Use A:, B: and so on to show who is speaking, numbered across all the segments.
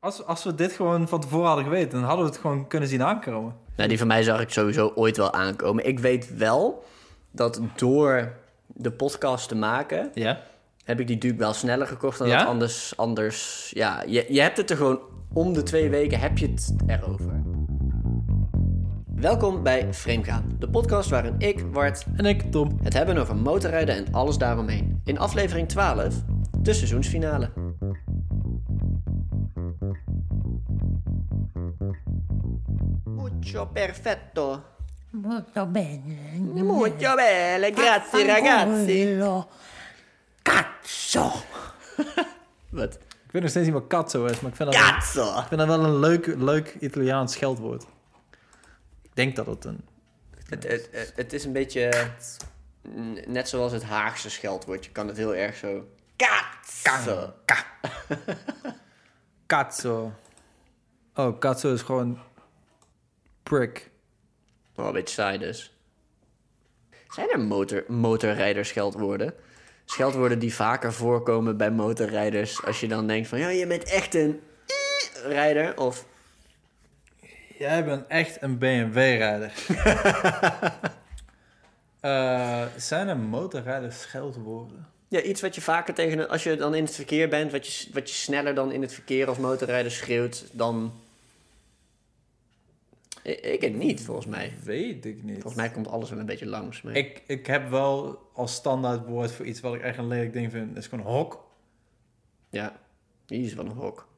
A: Als, als we dit gewoon van tevoren hadden geweten, dan hadden we het gewoon kunnen zien aankomen.
B: Nou, die van mij zag ik sowieso ooit wel aankomen. Ik weet wel dat door de podcast te maken,
A: Ja.
B: heb ik die Duke wel sneller gekocht dan
A: Ja?
B: dat anders. anders ja, je, je hebt het er gewoon om de twee weken heb je het erover. Welkom bij Framegaan, de podcast waarin ik, Wart,
A: En ik, Tom.
B: het hebben over motorrijden en alles daaromheen. In aflevering 12, de seizoensfinale. Mucho perfetto.
C: Molto bene.
B: Mucho bene, grazie ragazzi.
C: Cazzo!
B: Wat?
A: Ik weet nog steeds niet wat katzo is, maar ik vind dat, wel,
B: Cazzo!
A: ik vind dat wel een leuk, leuk Italiaans scheldwoord. Ik denk dat het een...
B: Het, het, het- het is een beetje n- net zoals het Haagse scheldwoord. Je kan het heel erg zo... Cazzo!
A: Katzo. Oh, katzo is gewoon... Prick.
B: Wel een beetje saai dus. Zijn er motor, motorrijders scheldwoorden? Scheldwoorden die vaker voorkomen bij motorrijders. Als je dan denkt van, ja, je bent echt een rijder. Of,
A: Jij bent echt een BMW-rijder. Eh, zijn er motorrijders scheldwoorden?
B: ja, iets wat je vaker tegen... een- Als je dan in het verkeer bent, wat je, s- wat je sneller dan in het verkeer als motorrijder schreeuwt, dan... I- Ik, het niet, volgens mij.
A: Weet ik niet.
B: Volgens mij komt alles wel een beetje langs. Maar...
A: Ik, ik heb wel als standaard woord voor iets wat ik echt een lelijk ding vind. Dat is gewoon hok.
B: Ja, die is wel een hok.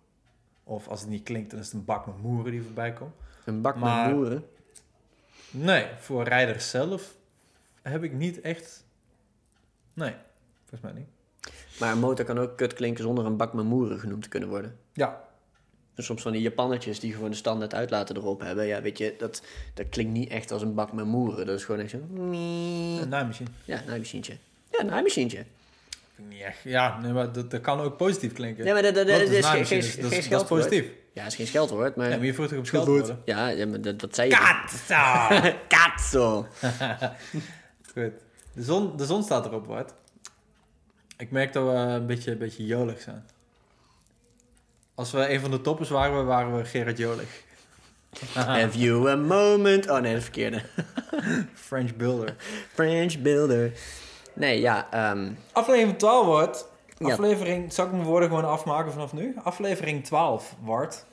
A: Of als het niet klinkt, dan is het een bak met moeren die voorbij komt.
B: Een bak
A: Maar-
B: met boeren.
A: Nee, voor rijders zelf heb ik niet echt... Nee, volgens mij niet.
B: Maar een motor kan ook kut klinken zonder een bak met moeren genoemd te kunnen worden.
A: Ja,
B: Dus soms van die Japannetjes die gewoon de standaard uitlaten erop hebben. Ja, weet je, dat, dat klinkt niet echt als een bak met moeren. Dat is gewoon echt zo...
A: een naaimaschine.
B: Ja, een naaimachientje. Ja, een naaimachientje.
A: Vind ik niet echt. Ja, nee, maar dat, dat kan ook positief klinken.
B: Nee, maar dat- dat-
A: Want
B: dat
A: een
B: is geen-
A: naaimachine dus
B: geen-
A: dat,
B: geen
A: is- dat is
B: scheldwoord.
A: positief.
B: Ja, is geen scheldwoord, maar...
A: Nee,
B: Ja,
A: maar je voert toch op scheldwoorden?
B: ja, maar dat, dat zei je.
A: Katza!
B: Katso!
A: Goed. De zon, de zon staat erop, Bart. Ik merk dat we een beetje, een beetje jolig zijn. Als we een van de toppers waren, waren we Gerard Jolig.
B: Have you a moment... Oh nee, de verkeerde.
A: French Builder.
B: French builder. Nee, ja, ehm,
A: Aflevering 12, Bart.
B: Ja.
A: Aflevering, zal ik mijn woorden gewoon afmaken vanaf nu? Aflevering 12, Bart.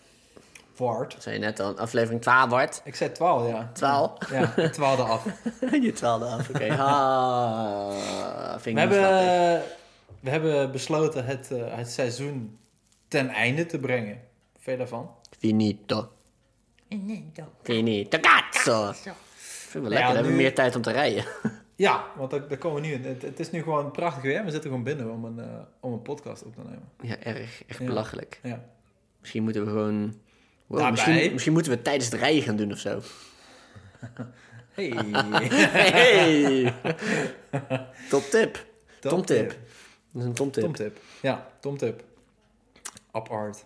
A: Bart.
B: dat zei je net al. Aflevering 12 wordt.
A: Ik zei 12, ja.
B: 12.
A: Ja, 12 af.
B: je twaalfde af, oké. Ah, vind ik
A: We
B: niet grappig.
A: hebben, we hebben besloten het, eh, het seizoen ten einde te brengen. Veel daarvan.
B: Finito.
C: Niente.
B: Finito. Cazzo! Vind ik wel lekker,
A: Ja,
B: dan hebben we
A: nu-
B: meer tijd om te rijden.
A: Ja, want daar, daar komen we nu in. Het, het is nu gewoon prachtig weer. We zitten gewoon binnen om een, eh, om een podcast op te nemen.
B: ja, erg. Echt
A: Ja.
B: belachelijk.
A: Ja.
B: Misschien moeten we gewoon... Wow,
A: Daarbij.
B: misschien, misschien moeten we het tijdens het rijden gaan doen of zo.
A: Hey.
B: Hey! Top tip.
A: Top
B: Tom tip.
A: tip.
B: Dat is een tom tip.
A: Tomtip. Ja, Tomtip. Up art.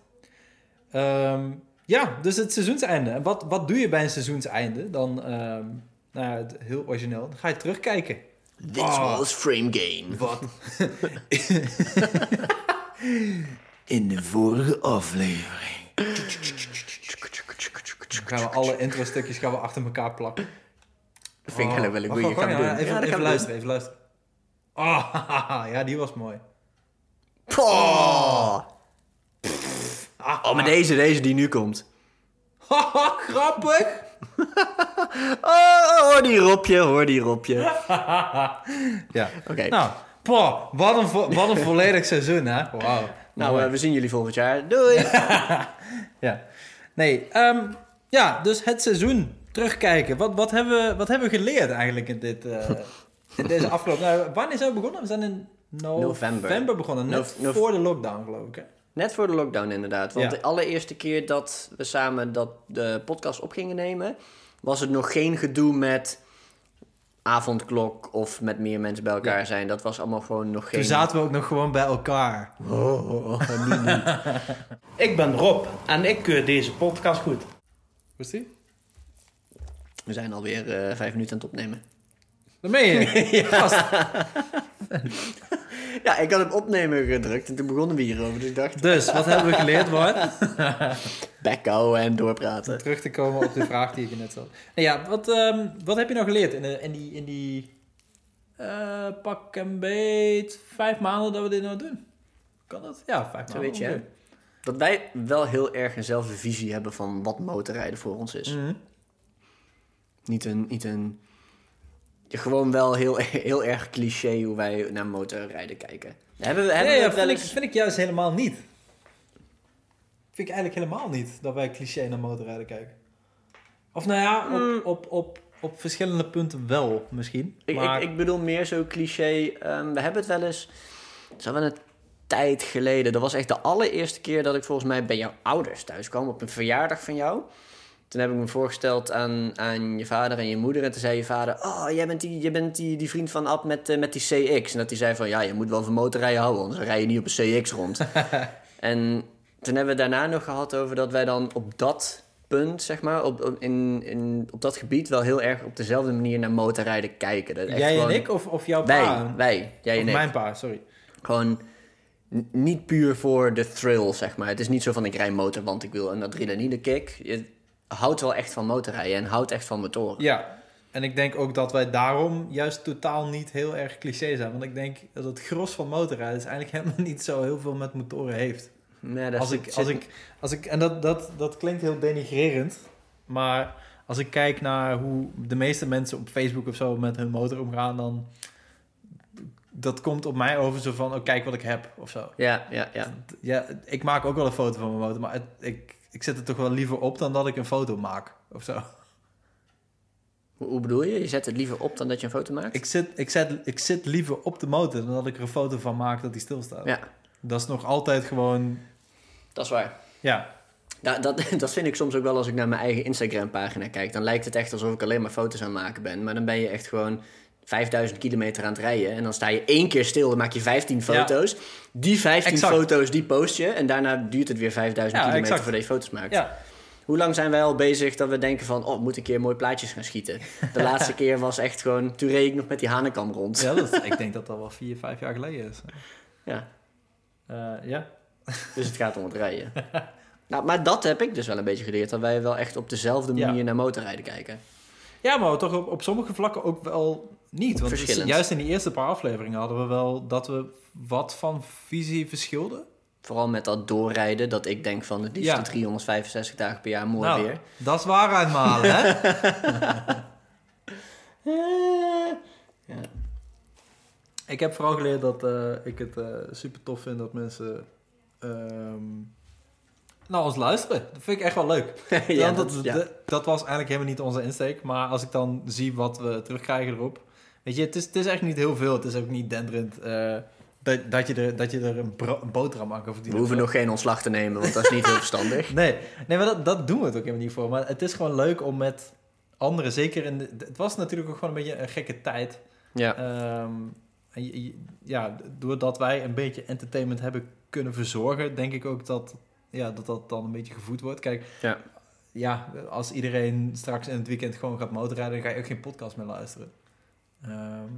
A: Ehm, ja, dus het seizoenseinde. En wat, wat doe je bij een seizoenseinde? Dan, ehm, nou ja, het- heel origineel. Dan ga je terugkijken.
B: This
A: Ah.
B: was frame game.
A: Wat?
B: In de vorige aflevering.
A: Dan gaan we alle intro-stukjes gaan we achter elkaar plakken.
B: Dat vind ik eigenlijk wel een
A: Wacht,
B: goeie.
A: wacht,
B: Gaan we
A: wacht,
B: doen.
A: ja, Even,
B: Ja, dat
A: even
B: gaan we
A: luisteren, even luisteren. Ah, ja, die was mooi.
B: doen. Oh. oh, maar deze, deze die nu komt.
A: Haha, grappig!
B: Oh, hoor die Robje, hoor die Robje.
A: Ja.
B: Oké.
A: Nou, poh, wat een, vo- wat een volledig seizoen, hè? Wauw.
B: Nou, eh, we zien jullie volgend jaar. Doei.
A: Ja. Nee, ehm, ja, dus het seizoen terugkijken. Wat, wat, hebben, we- wat hebben we geleerd eigenlijk in, dit, eh, in deze afgelopen... Nou, wanneer zijn we begonnen? We zijn in no-
B: November.
A: november begonnen, net
B: Nov- nov-
A: voor de lockdown geloof ik. Hè?
B: Net voor de lockdown inderdaad. Want
A: Ja.
B: de allereerste keer dat we samen dat de podcast op gingen nemen, was het nog geen gedoe met avondklok of met meer mensen bij elkaar zijn. Dat was allemaal gewoon nog geen. Oh,
A: Toen zaten we ook nog gewoon bij elkaar.
D: Ik ben Rob en ik keur deze podcast goed.
A: Was die?
B: We zijn alweer eh, vijf minuten aan het opnemen.
A: Dat meen je niet. Gast.
B: Ja, ik had op opnemen gedrukt en toen begonnen we hierover. Dus ik dacht,
A: Dus, wat hebben we geleerd, Bart?
B: bekko en doorpraten.
A: Om terug te komen op de vraag die ik je net had. Nou ja, wat, ehm, wat heb je nou geleerd in, de- in die, in die eh, pak en beet vijf maanden dat we dit nou doen? Kan dat? Ja, vijf maanden.
B: weet je, hè?
A: ongeveer.
B: Oh, Dat wij wel heel erg eenzelfde visie hebben van wat motorrijden voor ons is.
A: Mhm.
B: Niet een... Niet een gewoon wel heel, heel erg cliché hoe wij naar motorrijden kijken. Hebben we, hebben
A: Nee,
B: we
A: dat
B: het wel
A: vind, ik, dus-
B: eens...
A: vind ik juist helemaal niet. Vind ik eigenlijk helemaal niet dat wij cliché naar motorrijden kijken. Of nou ja, op, op, op, op verschillende punten wel misschien.
B: Hmm. Ik,
A: maar
B: ik, ik bedoel meer zo cliché. ehm, we hebben het wel eens. Het is al wel een tijd geleden. Dat was echt de allereerste keer dat ik volgens mij bij jouw ouders thuis kwam. Op een verjaardag van jou. Toen heb ik me voorgesteld aan, aan je vader en je moeder. En toen zei je vader: Oh, jij bent die, jij bent die, die vriend van Ab met, eh, met die CX. En dat hij zei: van, Ja, je moet wel van motorrijden houden, anders rij je niet op een CX rond. en toen hebben we daarna nog gehad over dat wij dan op dat punt, zeg maar, op, op- in, in, op dat gebied wel heel erg op dezelfde manier naar motorrijden kijken. Dat echt
A: jij
B: gewoon-
A: en ik of, of jouw
B: Wij,
A: pa?
B: wij, jij
A: Of
B: en ik.
A: mijn pa, sorry.
B: Gewoon n- niet puur voor de thrill, zeg maar. Het is niet zo van ik rij motor, want ik wil een adrenaline kick. Je houdt wel echt van motorrijden en houdt echt van motoren.
A: Ja, en ik denk ook dat wij daarom juist totaal niet heel erg cliché zijn. Want ik denk dat het gros van motorrijders eigenlijk helemaal niet zo heel veel met motoren heeft.
B: Nee, daar
A: als
B: zit-
A: ik,
B: zit-
A: als ik, als ik, en dat, dat, dat klinkt heel denigrerend, maar als ik kijk naar hoe de meeste mensen op Facebook of zo met hun motor omgaan, dan dat komt op mij over zo van, oh, kijk wat ik heb of zo.
B: Ja, ja, ja.
A: Ja, ik maak ook wel een foto van mijn motor, maar het- ik, ik zet het toch wel liever op dan dat ik een foto maak of zo.
B: Hoe, hoe bedoel je? Je zet het liever op dan dat je een foto maakt?
A: Ik zit, ik, zet, ik zit liever op de motor dan dat ik er een foto van maak dat die stilstaat.
B: Ja,
A: Dat is nog altijd gewoon,
B: dat is waar.
A: ja,
B: Da- dat, dat vind ik soms ook wel als ik naar mijn eigen Instagram-pagina kijk. Dan lijkt het echt alsof ik alleen maar foto's aan het maken ben. Maar dan ben je echt gewoon 5000 kilometer aan het rijden. En dan sta je één keer stil, dan maak je 15 foto's. Die 15
A: Exact.
B: foto's, die post je. En daarna duurt het weer 5000
A: Ja,
B: kilometer
A: exact.
B: voordat je foto's maakt.
A: ja.
B: Hoe lang zijn wij al bezig dat we denken van... Oh, ik moet een keer mooi plaatjes gaan schieten. De laatste keer was echt gewoon... Toen reed ik nog met die hanenkam rond. Ja.
A: ja dat, ik denk dat dat wel vier, vijf jaar geleden is. Eh, ja,
B: Dus het gaat om het rijden. nou, maar dat heb ik dus wel een beetje geleerd. Dat wij wel echt op dezelfde
A: Ja.
B: manier naar motorrijden kijken.
A: Ja, maar toch op, op sommige vlakken ook wel niet. Want dus
B: Verschillend.
A: juist in die eerste paar afleveringen hadden we wel dat we wat van visie verschilden.
B: Vooral met dat doorrijden, dat ik denk van het liefst
A: Ja.
B: de 365 dagen per jaar mooi
A: nou,
B: weer.
A: dat is waarheid malen, hè?
B: Ja.
A: Ik heb vooral geleerd dat eh, ik het eh, super tof vind dat mensen ehm, naar ons luisteren. Dat vind ik echt wel leuk.
B: Ja,
A: Want
B: dat,
A: dat,
B: ja.
A: dat, dat was eigenlijk helemaal niet onze insteek. Maar als ik dan zie wat we terugkrijgen erop. Weet je, het is, het is echt niet heel veel. Het is ook niet denderend eh, dat, dat, je er, dat je er een, bro- een boterham aan kan
B: We
A: verdienen.
B: hoeven nog geen ontslag te nemen, want dat is niet heel verstandig.
A: Nee, nee maar dat, dat doen we het ook helemaal niet voor. Maar het is gewoon leuk om met anderen, zeker in... De, het was natuurlijk ook gewoon een beetje een gekke tijd.
B: Ja.
A: Ehm, en je- je- ja, doordat wij een beetje entertainment hebben kunnen verzorgen... denk ik ook dat ja, dat, dat dan een beetje gevoed wordt. Kijk,
B: Ja.
A: ja, als iedereen straks in het weekend gewoon gaat motorrijden... dan ga je ook geen podcast meer luisteren. Ehm,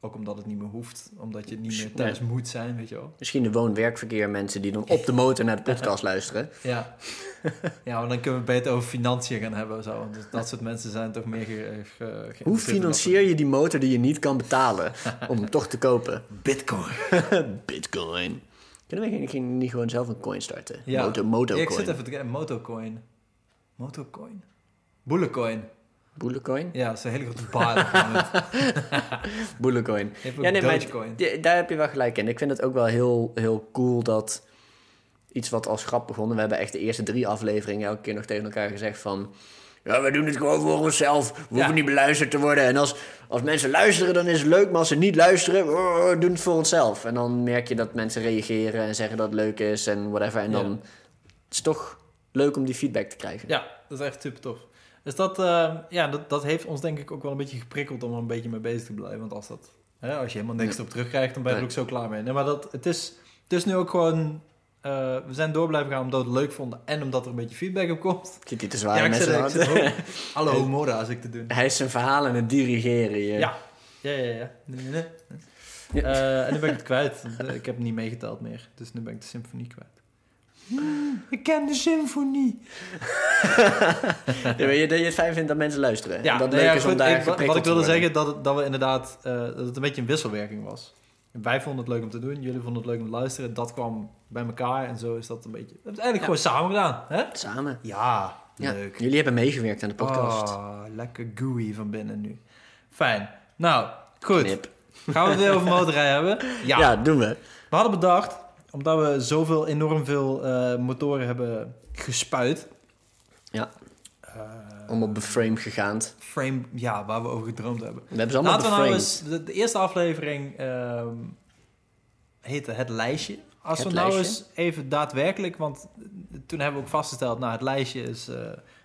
A: ook omdat het niet meer hoeft. Omdat je niet meer thuis moet zijn, weet je wel.
B: Misschien de woon-werkverkeer mensen die dan op de motor naar de podcast luisteren.
A: Ja. ja, maar dan kunnen we het beter over financiën gaan hebben. Zo. Want dus dat soort mensen zijn toch meer ge, eh, ge- geïnteresseerd
B: Hoe
A: in
B: financier je die motor die je niet kan betalen om hem toch te kopen?
A: dat soort- Bitcoin?
B: Bitcoin. Kunnen we geen, geen- niet gewoon zelf een coin starten?
A: Ja. Ja, ik
B: Motor,
A: zit
B: motorcoin.
A: even te kijken. Motocoin. Motocoin? Boelecoin.
B: Boelecoin?
A: Ja, dat is een hele grote baal. op het moment.
B: Boelecoin.
A: Je hebt ook Dogecoin.
B: d- daar heb je wel gelijk in. Ik vind het ook wel heel, heel cool dat iets wat als grap begonnen. We hebben echt de eerste drie afleveringen elke keer nog tegen elkaar gezegd van... Ja, we doen het gewoon voor onszelf. We hoeven niet beluisterd te worden. En als, als mensen luisteren, dan is het leuk. Maar als ze niet luisteren, oh, we doen het voor onszelf. En dan merk je dat mensen reageren en zeggen dat het leuk is en whatever. En
A: Ja.
B: dan is het toch leuk om die feedback te krijgen.
A: ja, dat is echt super tof. Dus dat, eh, ja, dat, dat heeft ons denk ik ook wel een beetje geprikkeld om er een beetje mee bezig te blijven. Want als, dat, hè, als je helemaal niks op terugkrijgt, dan ben je er
B: Nee.
A: ook zo klaar mee. Nee, maar dat, het, is, het is nu ook gewoon... eh, we zijn door blijven gaan omdat we het leuk vonden en omdat er een beetje feedback op komt.
B: Zit hier te
A: Ja,
B: zware
A: ik zit,
B: mensen
A: ik zit ook. Hallo, Mora, als ik te doen.
B: Hij is zijn verhaal aan het dirigeren. hier.
A: Ja. Ja, ja, ja. Nee, nee, nee.
B: Ja.
A: Eh, en nu ben ik het kwijt. eh, Ik heb niet meegeteld meer. Dus nu ben ik de symfonie kwijt. ik ken de symfonie.
B: Ja, maar je, dat je het fijn vindt dat mensen luisteren.
A: Ja,
B: en dat
A: nou
B: leuk
A: ja,
B: is om
A: goed,
B: daar
A: ik- wat, wat
B: geprikkeld
A: ik
B: te
A: wilde
B: worden.
A: zeggen, dat, het- dat we inderdaad... eh, dat het een beetje een wisselwerking was. Wij vonden het leuk om te doen. Jullie vonden het leuk om te luisteren. Dat kwam bij elkaar. En zo is dat een beetje... We hebben het eigenlijk gewoon samen gedaan. Hè?
B: Samen.
A: Ja,
B: Ja.
A: leuk.
B: Jullie hebben meegewerkt aan de podcast.
A: Ah, lekker gooey van binnen nu. Fijn. Nou, goed.
B: Knip.
A: Gaan we het weer over motorrijden hebben?
B: Ja. doen we.
A: We hadden bedacht, omdat we zoveel, enorm veel eh, motoren hebben gespuit.
B: Ja.
A: eh,
B: Om op beframe gegaan.
A: frame, ja, waar we over gedroomd hebben.
B: We hebben ze allemaal
A: Laten we nou
B: beframed.
A: eens, de, de eerste aflevering ehm, heette Het Lijstje. Als
B: Het
A: we nou
B: Lijstje.
A: eens even daadwerkelijk, want toen hebben we ook vastgesteld, nou, het lijstje is eh,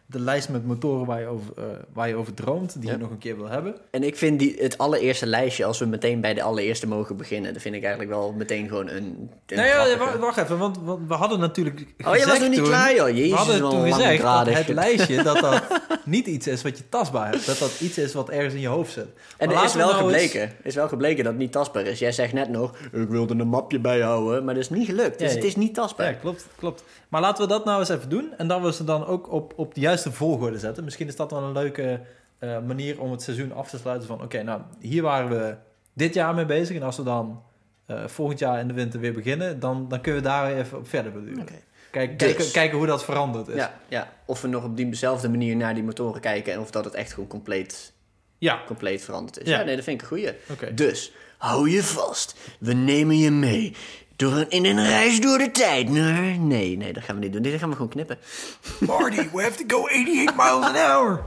A: de lijst met motoren waar je over, eh, waar je over droomt, die
B: Ja.
A: je nog een keer wil hebben.
B: En ik vind die, het allereerste lijstje, als we meteen bij de allereerste mogen beginnen, dat vind ik eigenlijk wel meteen gewoon een. een
A: Nou ja,
B: grappige.
A: wa- wacht even, want, want we hadden natuurlijk
B: Oh, je was
A: gezegd
B: nog niet
A: toen-
B: klaar, joh.
A: we
B: Jezus,
A: hadden
B: wel
A: toen gezegd dat
B: langdradig.
A: het lijstje dat dat niet iets is wat je tastbaar hebt. Dat dat iets is wat ergens in je hoofd zit. Maar
B: En er
A: laten
B: is
A: we
B: wel,
A: nou eens-
B: gebleken, is wel gebleken dat het niet tastbaar is. Jij zegt net nog, ik wilde een mapje bijhouden, maar dat is niet gelukt. Dus
A: Nee.
B: het is niet tastbaar.
A: Ja, klopt, klopt. Maar laten we dat nou eens even doen. En dat we ze dan ook op, op de juiste volgorde zetten. Misschien is dat wel een leuke eh, manier om het seizoen af te sluiten. Van oké, nou, hier waren we dit jaar mee bezig. En als we dan eh, volgend jaar in de winter weer beginnen, dan, dan kunnen we daar even op verder beduren.
B: Oké.
A: Kijk,
B: Dus.
A: kijken, kijken hoe dat veranderd is.
B: Ja, ja, Dus of we nog op diezelfde manier naar die motoren kijken en of dat het echt gewoon compleet,
A: Ja,
B: compleet veranderd is. Ja.
A: Ja.
B: nee, dat vind ik een goeie.
A: oké.
B: Dus, hou je vast. We nemen je mee. Door een, in een reis door de tijd. Nee, nee, nee, dat gaan we niet doen. Dit gaan we gewoon knippen.
A: Marty, we have to go 88 miles an hour.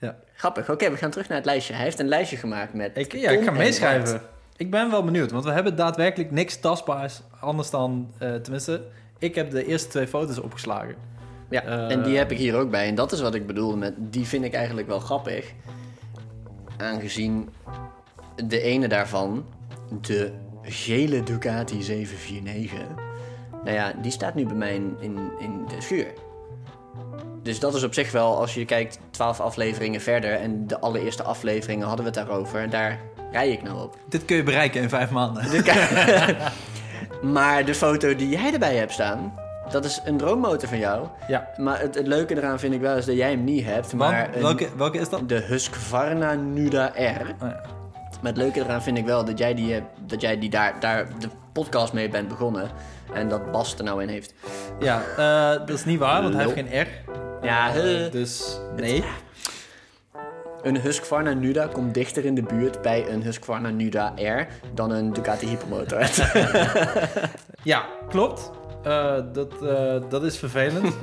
A: Ja,
B: Grappig. Oké, we gaan terug naar het lijstje. Hij heeft een lijstje gemaakt met...
A: ik, ja, ik ga
B: Tom en
A: meeschrijven.
B: Bart.
A: Ik ben wel benieuwd, want we hebben daadwerkelijk niks tastbaars anders dan, eh, tenminste, ik heb de eerste twee foto's opgeslagen.
B: Ja,
A: Eh,
B: en die heb ik hier ook bij. En dat is wat ik bedoel met... Die vind ik eigenlijk wel grappig. Aangezien de ene daarvan, de gele Ducati 749... Nou ja, die staat nu bij mij in, in, in de schuur. Dus dat is op zich wel, als je kijkt, 12 afleveringen verder... en de allereerste afleveringen hadden we het daarover. En daar rij ik nou op.
A: Dit kun je bereiken in vijf maanden.
B: De ka- maar de foto die jij erbij hebt staan... Dat is een droommotor van jou.
A: Ja, eh,
B: Maar het, het leuke eraan vind ik wel is dat jij hem niet hebt. Maar
A: want
B: een-
A: welke, welke is dat?
B: de Husqvarna Nuda R.
A: Oh ja.
B: Maar het leuke eraan vind ik wel dat jij, die, hebt- dat jij die daar, daar de podcast mee bent begonnen. En dat Bas er nou in heeft.
A: Ja, eh, dat is niet waar, want hij heeft geen R.
B: Ja,
A: Eh,
B: hè.
A: dus nee.
B: een Husqvarna Nuda komt dichter in de buurt bij een Husqvarna Nuda R dan een Ducati Hypermotor.
A: Ja, klopt. Eh, dat, eh, dat is vervelend.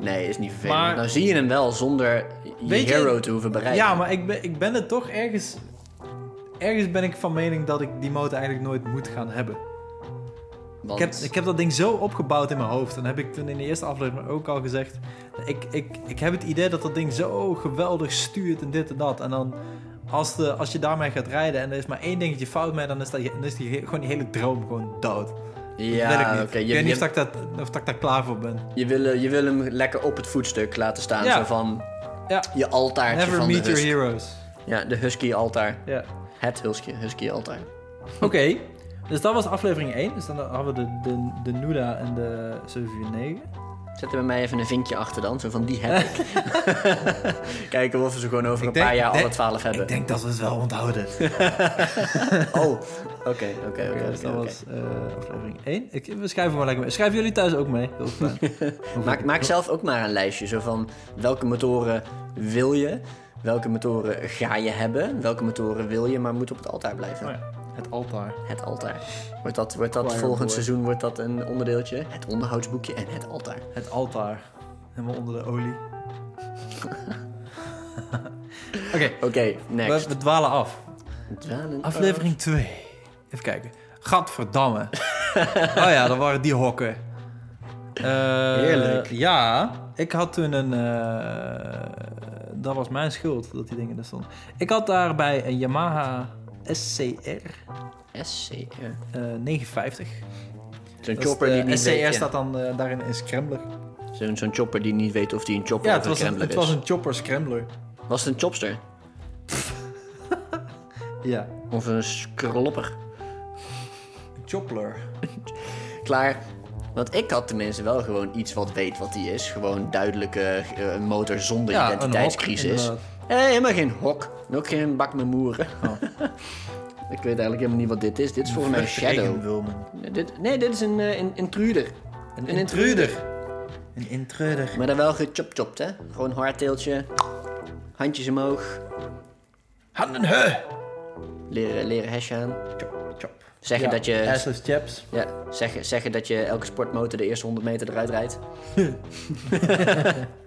B: nee, is niet vervelend.
A: Maar-
B: nou zie je hem wel zonder je
A: Weet je-
B: hero te hoeven bereiken.
A: Ja, maar ik ben, ik ben het toch ergens... Ergens ben ik van mening dat ik die motor eigenlijk nooit moet gaan hebben.
B: Want-
A: Ik heb, ik heb dat ding zo opgebouwd in mijn hoofd. En heb ik toen in de eerste aflevering ook al gezegd... Ik, ik, ik heb het idee dat dat ding zo geweldig stuurt en dit en dat. En dan als, de, als je daarmee gaat rijden en er is maar één dingetje fout mee... dan is, dat, dan is die, he- gewoon die hele droom gewoon dood.
B: ja,
A: dat wil ik niet.
B: oké,
A: ik
B: je-
A: weet niet
B: je-
A: of, dat ik dat, of dat ik daar klaar voor ben.
B: Je wil, eh, je wil hem lekker op het voetstuk laten staan.
A: Ja.
B: Zo van
A: Ja.
B: je altaartje
A: Never
B: van
A: meet
B: de
A: your
B: husky.
A: heroes.
B: Ja, de husky altaar.
A: Ja.
B: Het husky, husky altaar.
A: Oké, dus dat was aflevering 1. Dus dan hadden we de, de, de Nuda en de 749.
B: Zet er bij mij even een vinkje achter dan. Zo van die heb ik. Kijken of we ze gewoon over een
A: denk-
B: paar jaar
A: denk-
B: alle twaalf hebben.
A: Ik denk dat we het wel onthouden.
B: Oh, oké, oké, oké,
A: Oké, dus
B: oké.
A: dat
B: oké.
A: was eh, aflevering 1. Ik, we schrijven maar lekker mee. Schrijven jullie thuis ook mee? Heel fijn.
B: Maak, maak zelf ook maar een lijstje. Zo van welke motoren wil je? Welke motoren ga je hebben? Welke motoren wil je, maar moet op het altaar blijven?
A: Oh ja, Het altaar.
B: Het altaar. Wordt dat, wordt dat
A: Choir
B: volgend
A: boy.
B: seizoen wordt dat een onderdeeltje? Het onderhoudsboekje en het altaar.
A: Het altaar. Helemaal onder de olie. Oké,
B: Oké,
A: we,
B: next.
A: we dwalen af.
B: Dwalen
A: Aflevering 2. Even kijken. Gadverdamme. oh ja, dat waren die hokken. Eh,
B: Heerlijk.
A: Ja, ik had toen een... eh, dat was mijn schuld dat die dingen er stonden. Ik had daarbij een Yamaha SCR
B: af. SCR.
A: eh 950.
B: Zo'n
A: Dat is
B: chopper
A: de
B: die niet
A: SCR
B: weet... ja.
A: staat dan eh, daarin in scrambler.
B: Zo'n zo'n chopper die niet weet of die een chopper
A: Ja,
B: of
A: het
B: een
A: was een,
B: scrambler
A: het was
B: is.
A: een chopper scrambler.
B: Was het een chopster?
A: Ja.
B: Of een scropper.
A: Chopper.
B: Klaar. Want ik had tenminste wel gewoon iets wat weet wat die is. Gewoon duidelijke eh, een motor zonder
A: Ja, een hok,
B: identiteitscrisis.
A: inderdaad. Oh.
B: Hé, helemaal geen hok. En ook geen bak met moeren. ik weet eigenlijk helemaal niet wat dit is. Dit is volgens mij een shadow. Nee, dit, nee, dit is een, eh, een intruder.
A: Een intruder. Een intruder.
B: Maar dan wel gechop-chopt, hè? Gewoon hardteeltje. Handjes omhoog.
A: Handen he.
B: Leren, leren hesje aan.
A: Chop, chop.
B: Zeggen dat je...
A: Assless chaps.
B: Ja, zeggen, zeggen dat je elke sportmotor de eerste 100 meter eruit rijdt.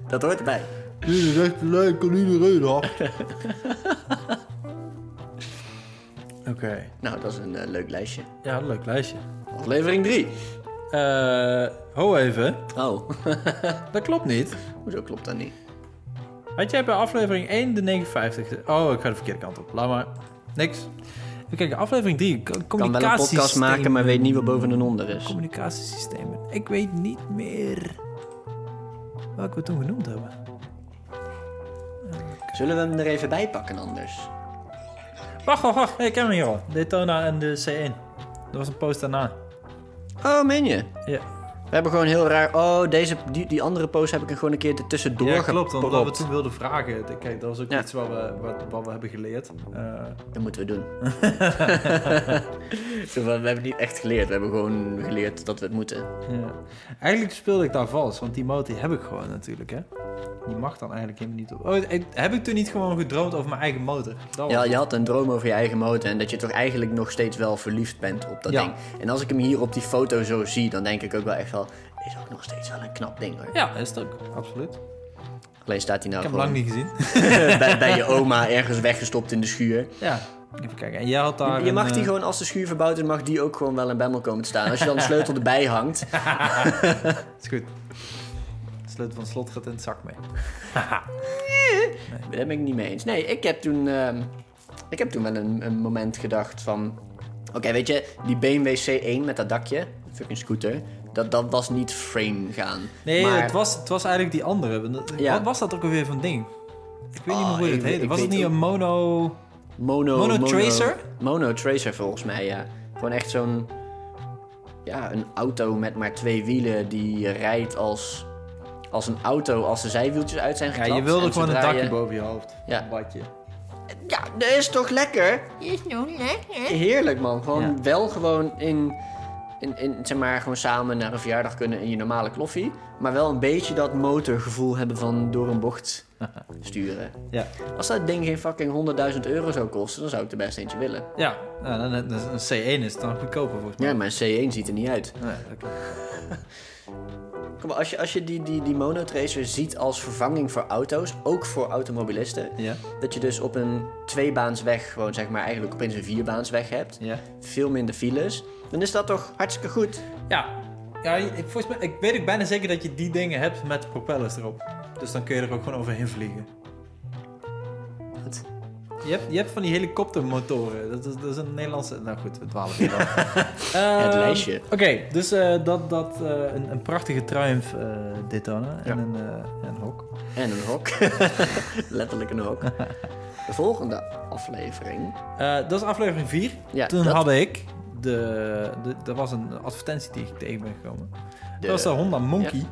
B: dat hoort erbij.
A: Dit is echt leuk, kan iedereen af. Oké.
B: Nou, dat is een eh, leuk lijstje.
A: Ja, leuk lijstje.
B: Aflevering 3.
A: Eh, ho even.
B: Oh,
A: Dat klopt niet.
B: hoezo klopt dat niet?
A: Had jij bij aflevering 1 de 59... ge- Oh, ik ga de verkeerde kant op. Laat maar. Niks. Even kijken, aflevering 3.
B: Kan wel een podcast maken, maar weet niet wat boven en onder is.
A: Communicatiesystemen. Ik weet niet meer welke we toen genoemd hebben.
B: Zullen we hem er even bij pakken anders?
A: Wacht, wacht, wacht. Ik ken hem hier al. Daytona en de C1. Dat was een post daarna.
B: Oh, meen je?
A: Ja,
B: We hebben gewoon heel raar... Oh, deze, die, die andere post heb ik er gewoon een keer tussendoor
A: ja klopt.
B: gepropt.
A: Omdat we toen wilden vragen. Kijk, dat was ook
B: Ja.
A: iets wat we, wat, wat we hebben geleerd. Eh,
B: Dat moeten we doen. Zo van, we hebben niet echt geleerd. We hebben gewoon geleerd dat we het moeten.
A: ja. Eigenlijk speelde ik daar vals, want die motor heb ik gewoon natuurlijk, hè. Die mag dan eigenlijk helemaal niet op. Oh, ik- heb ik toen niet gewoon gedroomd over mijn eigen motor? Dat was-
B: Ja, je had een droom over je eigen motor. En dat je toch eigenlijk nog steeds wel verliefd bent op dat
A: Ja.
B: ding. En als ik hem hier op die foto zo zie, dan denk ik ook wel echt wel... Is ook nog steeds wel een knap ding hoor.
A: ja, is het ook. Absoluut. Ik
B: Alleen staat hij nou
A: heb hem
B: gewoon
A: lang niet gezien.
B: bij, bij je oma ergens weggestopt in de schuur.
A: Ja, even kijken. En jij had daar.
B: Je, je mag
A: een,
B: die
A: eh,
B: gewoon, als de schuur verbouwd is, mag die ook gewoon wel in Bemmel komen te staan. Als je dan de sleutel erbij hangt.
A: Is goed. De sleutel van het slot gaat in het zak mee.
B: Daar ben ik niet mee eens. Nee, ik heb toen, ehm, ik heb toen wel een, een moment gedacht van... Oké, weet je, die BMW C1 met dat dakje, fucking scooter, dat, dat was niet frame gaan.
A: Nee,
B: Maar-
A: het, was, het was eigenlijk die andere. Want dat-
B: Ja.
A: Wat was dat ook alweer van ding? Ik weet niet
B: Ah,
A: meer hoe
B: ik-
A: het heette.
B: ik
A: Was het
B: weet
A: niet
B: ook-
A: een mono.
B: Mono,
A: Mono Tracer?
B: Mono Tracer volgens mij, ja. Gewoon echt zo'n... Ja, een auto met maar twee wielen die rijdt als, als een auto als de zijwieltjes uit zijn
A: Ja,
B: geklapt.
A: je wilde
B: En
A: gewoon een
B: zodra
A: dakje
B: je-
A: boven je hoofd.
B: Ja.
A: Een badje.
B: Ja, dat is toch lekker?
C: Is nou lekker.
B: Heerlijk man. Gewoon
A: Ja.
B: wel gewoon in, in, in, zeg maar, gewoon samen naar een verjaardag kunnen in je normale kloffie. Maar wel een beetje dat motorgevoel hebben van door een bocht sturen.
A: Ja.
B: Als dat ding geen fucking 100.000 euro zou kosten, dan zou ik er best eentje willen.
A: Ja, nou, dan, dan- dan- een C1 is dan goedkoper volgens mij.
B: Ja, maar een C1 ziet er niet uit.
A: Nee, dat klopt.
B: Kom, maar, als je, als je die, die, die monotracer ziet als vervanging voor auto's, ook voor automobilisten.
A: Ja,
B: Dat je dus op een tweebaansweg, gewoon zeg maar eigenlijk opeens een vierbaansweg hebt.
A: ja.
B: Veel minder files. Dan is dat toch hartstikke goed.
A: Ja, ja ik, volgens mij, ik weet ook bijna zeker dat je die dingen hebt met propellers erop. Dus dan kun je er ook gewoon overheen vliegen.
B: Wat?
A: Je hebt, je hebt van die helikoptermotoren. Dat is, dat is een Nederlandse... Nou goed, we dwalen weer af.
B: Het
A: Ehm,
B: lijstje.
A: Oké, dus eh, dat, dat eh, een, een prachtige triumph eh Daytona en
B: Ja.
A: een, eh, een hok.
B: En een hok. Letterlijk een hok. De volgende aflevering.
A: Eh, dat is aflevering 4.
B: Ja,
A: Toen
B: dat-
A: had ik... De, de, er was een advertentie die ik tegen ben gekomen.
B: De-
A: Dat was de Honda Monkey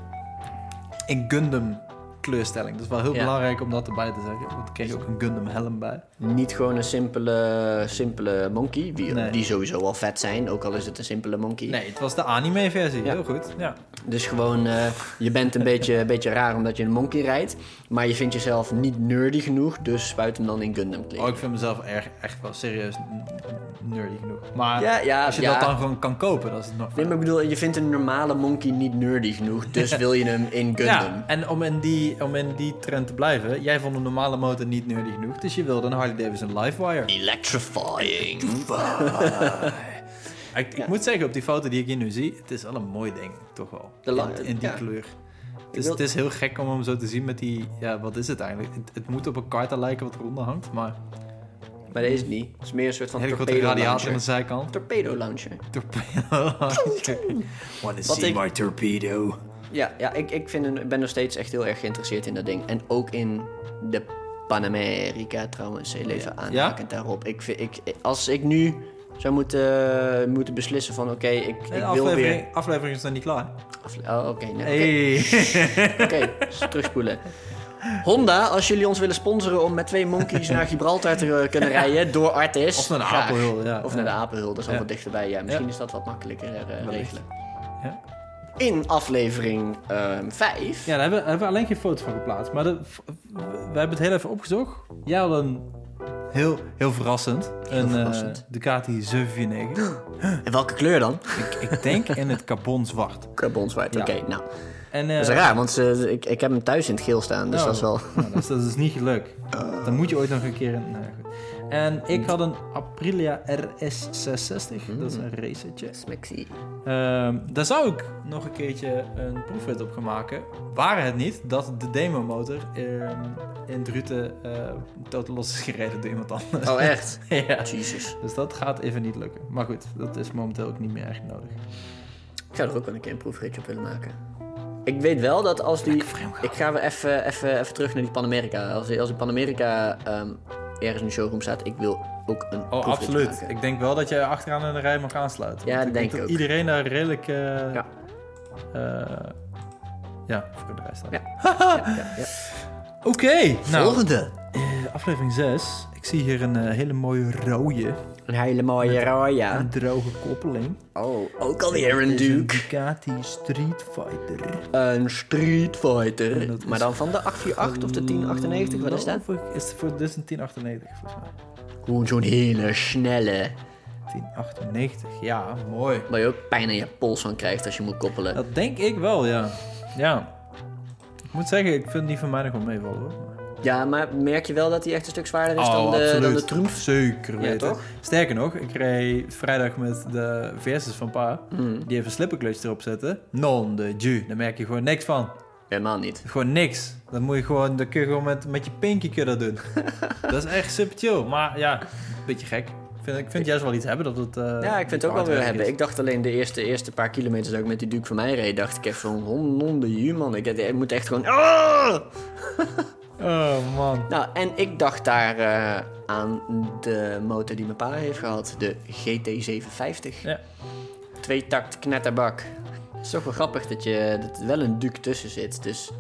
A: in Gundam kleurstelling. Dat is wel heel
B: Ja.
A: belangrijk om dat erbij te zeggen. Want ik kreeg ook een Gundam helm bij.
B: Niet gewoon een simpele, simpele monkey. Die,
A: Nee.
B: die sowieso al vet zijn, ook al is het een simpele monkey.
A: Nee, het was de anime versie.
B: Ja.
A: Heel goed. Ja.
B: Dus gewoon, eh, je bent een beetje, een beetje raar omdat je een monkey rijdt. Maar je vindt jezelf niet nerdy genoeg, dus spuit hem dan in Gundam
A: Oh,
B: kleren.
A: ik vind mezelf erg, echt wel serieus n- n- nerdy genoeg. Maar
B: Ja, ja,
A: als je
B: ja.
A: dat dan gewoon kan kopen, dat is het nog
B: Nee, maar ik bedoel, je vindt een normale monkey niet nerdy genoeg, dus wil je hem in Gundam.
A: Ja, en om in, die, om in die trend te blijven, jij vond een normale motor niet nerdy genoeg, dus je wilde een Harley Davidson Livewire.
B: Electrifying.
A: Ik, ik moet zeggen, op die foto die ik hier nu zie, het is wel een mooi ding, toch wel.
B: De lange-
A: in, in die
B: ja.
A: kleur. Het is,
B: wil-
A: het is heel gek om hem zo te zien met die, ja, wat is het eigenlijk? Het, het moet op een karta lijken wat eronder hangt, maar
B: Maar dat is het niet. Het is meer een soort van
A: een hele grote
B: torpedo
A: radiator aan de
B: launcher.
A: zijkant.
B: Torpedo launcher.
A: Torpedo. Wanna
B: Wat ik-
A: my torpedo?
B: Ja, ja ik, ik, vind, een- ik ben nog steeds echt heel erg geïnteresseerd in dat ding. En ook in de Panamerica trouwens.
A: Oh
B: Heel even aanhakend daarop. Ik, vind- ik, als ik nu zou moeten, moeten beslissen van oké, ik,
A: De
B: ik wil
A: Eh, aflevering,
B: weer...
A: aflevering is nog niet klaar.
B: Afle- oh, oké. nee, oké.
A: Hey.
B: Oké, dus terugspoelen. Honda, als jullie ons willen sponsoren om met twee monkeys naar Gibraltar te eh, kunnen rijden door Artis.
A: Of naar de
B: graag.
A: Apelhul, ja.
B: Of naar de Apenhul, dat is al
A: Ja.
B: wat dichterbij. Ja, misschien
A: Ja.
B: is dat wat makkelijker eh,
A: Wellicht.
B: regelen.
A: Ja.
B: In aflevering ehm, 5.
A: Ja, daar hebben, daar hebben we alleen geen foto van geplaatst. Maar de, v- we hebben het heel even opgezocht. Jij had een heel, heel verrassend. een
B: verrassend.
A: eh, Ducati 749.
B: En welke kleur dan?
A: ik, ik denk in het carbon zwart.
B: Carbon zwart,
A: Ja.
B: oké. nou,
A: En, eh,
B: dat is raar, want ze- ik, ik heb hem thuis in het geel staan. Dus dat is wel...
A: nou, dat, is, dat is niet gelukt. Dan moet je ooit nog een keer... in- nou ja, goed. En ik had een Aprilia RS660.
B: Mm.
A: Dat is een racertje.
B: Smexy.
A: Ehm, daar zou ik nog een keertje een proefrit op gaan maken. Waren het niet dat de demomotor ehm, in Druten eh totaal los is gereden door iemand anders.
B: Oh, echt?
A: ja.
B: Jezus.
A: Dus dat gaat even niet lukken. Maar goed, dat is momenteel ook niet meer echt nodig.
B: Ik zou er ook wel een keer een proefritje op willen maken. Ik weet wel dat als die... Ik ga weer even, even, even terug naar die Panamerica. Als die, als die Panamerica ehm, ergens in de showroom staat, ik wil ook een
A: Oh,
B: proefritje
A: absoluut.
B: maken.
A: Ik denk wel dat jij achteraan in de rij mag aansluiten.
B: Ja,
A: Want
B: dat denk ik
A: dat
B: ook.
A: iedereen daar redelijk... eh,
B: Ja.
A: eh, ja, voor de rij staat.
B: Ja. Ja, ja.
A: Oké, nou,
B: Ah! Volgende.
A: eh, aflevering 6. Ik zie hier een eh, hele mooie rode,
B: Een hele mooie roya.
A: een droge koppeling.
B: Oh, ook Ah. alweer een
A: Het is een
B: Duke.
A: Ducati Street Fighter.
B: Een Street
A: En
B: Fighter.
A: dat is
B: Maar dan van de 848 of de 1098, wat is dat?
A: Geloof ik Is voor, dit is een 1098 volgens mij.
B: Gewoon zo'n hele snelle.
A: 1098, ja, mooi.
B: Waar je ook pijn aan je pols van krijgt als je moet koppelen.
A: Dat denk ik wel, ja. Ja. Ik moet zeggen, ik vind die van mij nog wel meevallen hoor.
B: Ja, maar merk je wel dat hij echt een stuk zwaarder is
A: Oh,
B: dan, de, dan de Triumph?
A: Zeker
B: Ja,
A: weten.
B: toch?
A: Sterker nog, ik reed vrijdag met de versus van pa.
B: Mm.
A: Die even een slipperclutch erop zetten. Non de ju. Daar merk je gewoon niks van.
B: Helemaal niet.
A: Gewoon niks. Dan moet je gewoon, dan kun je gewoon met, met je pinkie kun je dat doen. dat is echt super chill. Maar ja, een beetje gek. Ik vind, ik vind het juist wel iets hebben dat het. eh,
B: Ja, ik vind het ook wel
A: hard
B: weer
A: werk
B: hebben.
A: is.
B: Ik dacht alleen de eerste, eerste paar kilometers dat ik met die Duke van mij reed, dacht ik echt van honde ju man. Ik, ik moet echt gewoon. Ah!
A: Oh man.
B: Nou, en ik dacht daar eh, aan de motor die mijn pa heeft gehad, de GT750.
A: Ja.
B: Twee takt knetterbak. Het is toch wel grappig dat, je, dat er wel een Duke tussen zit, dus.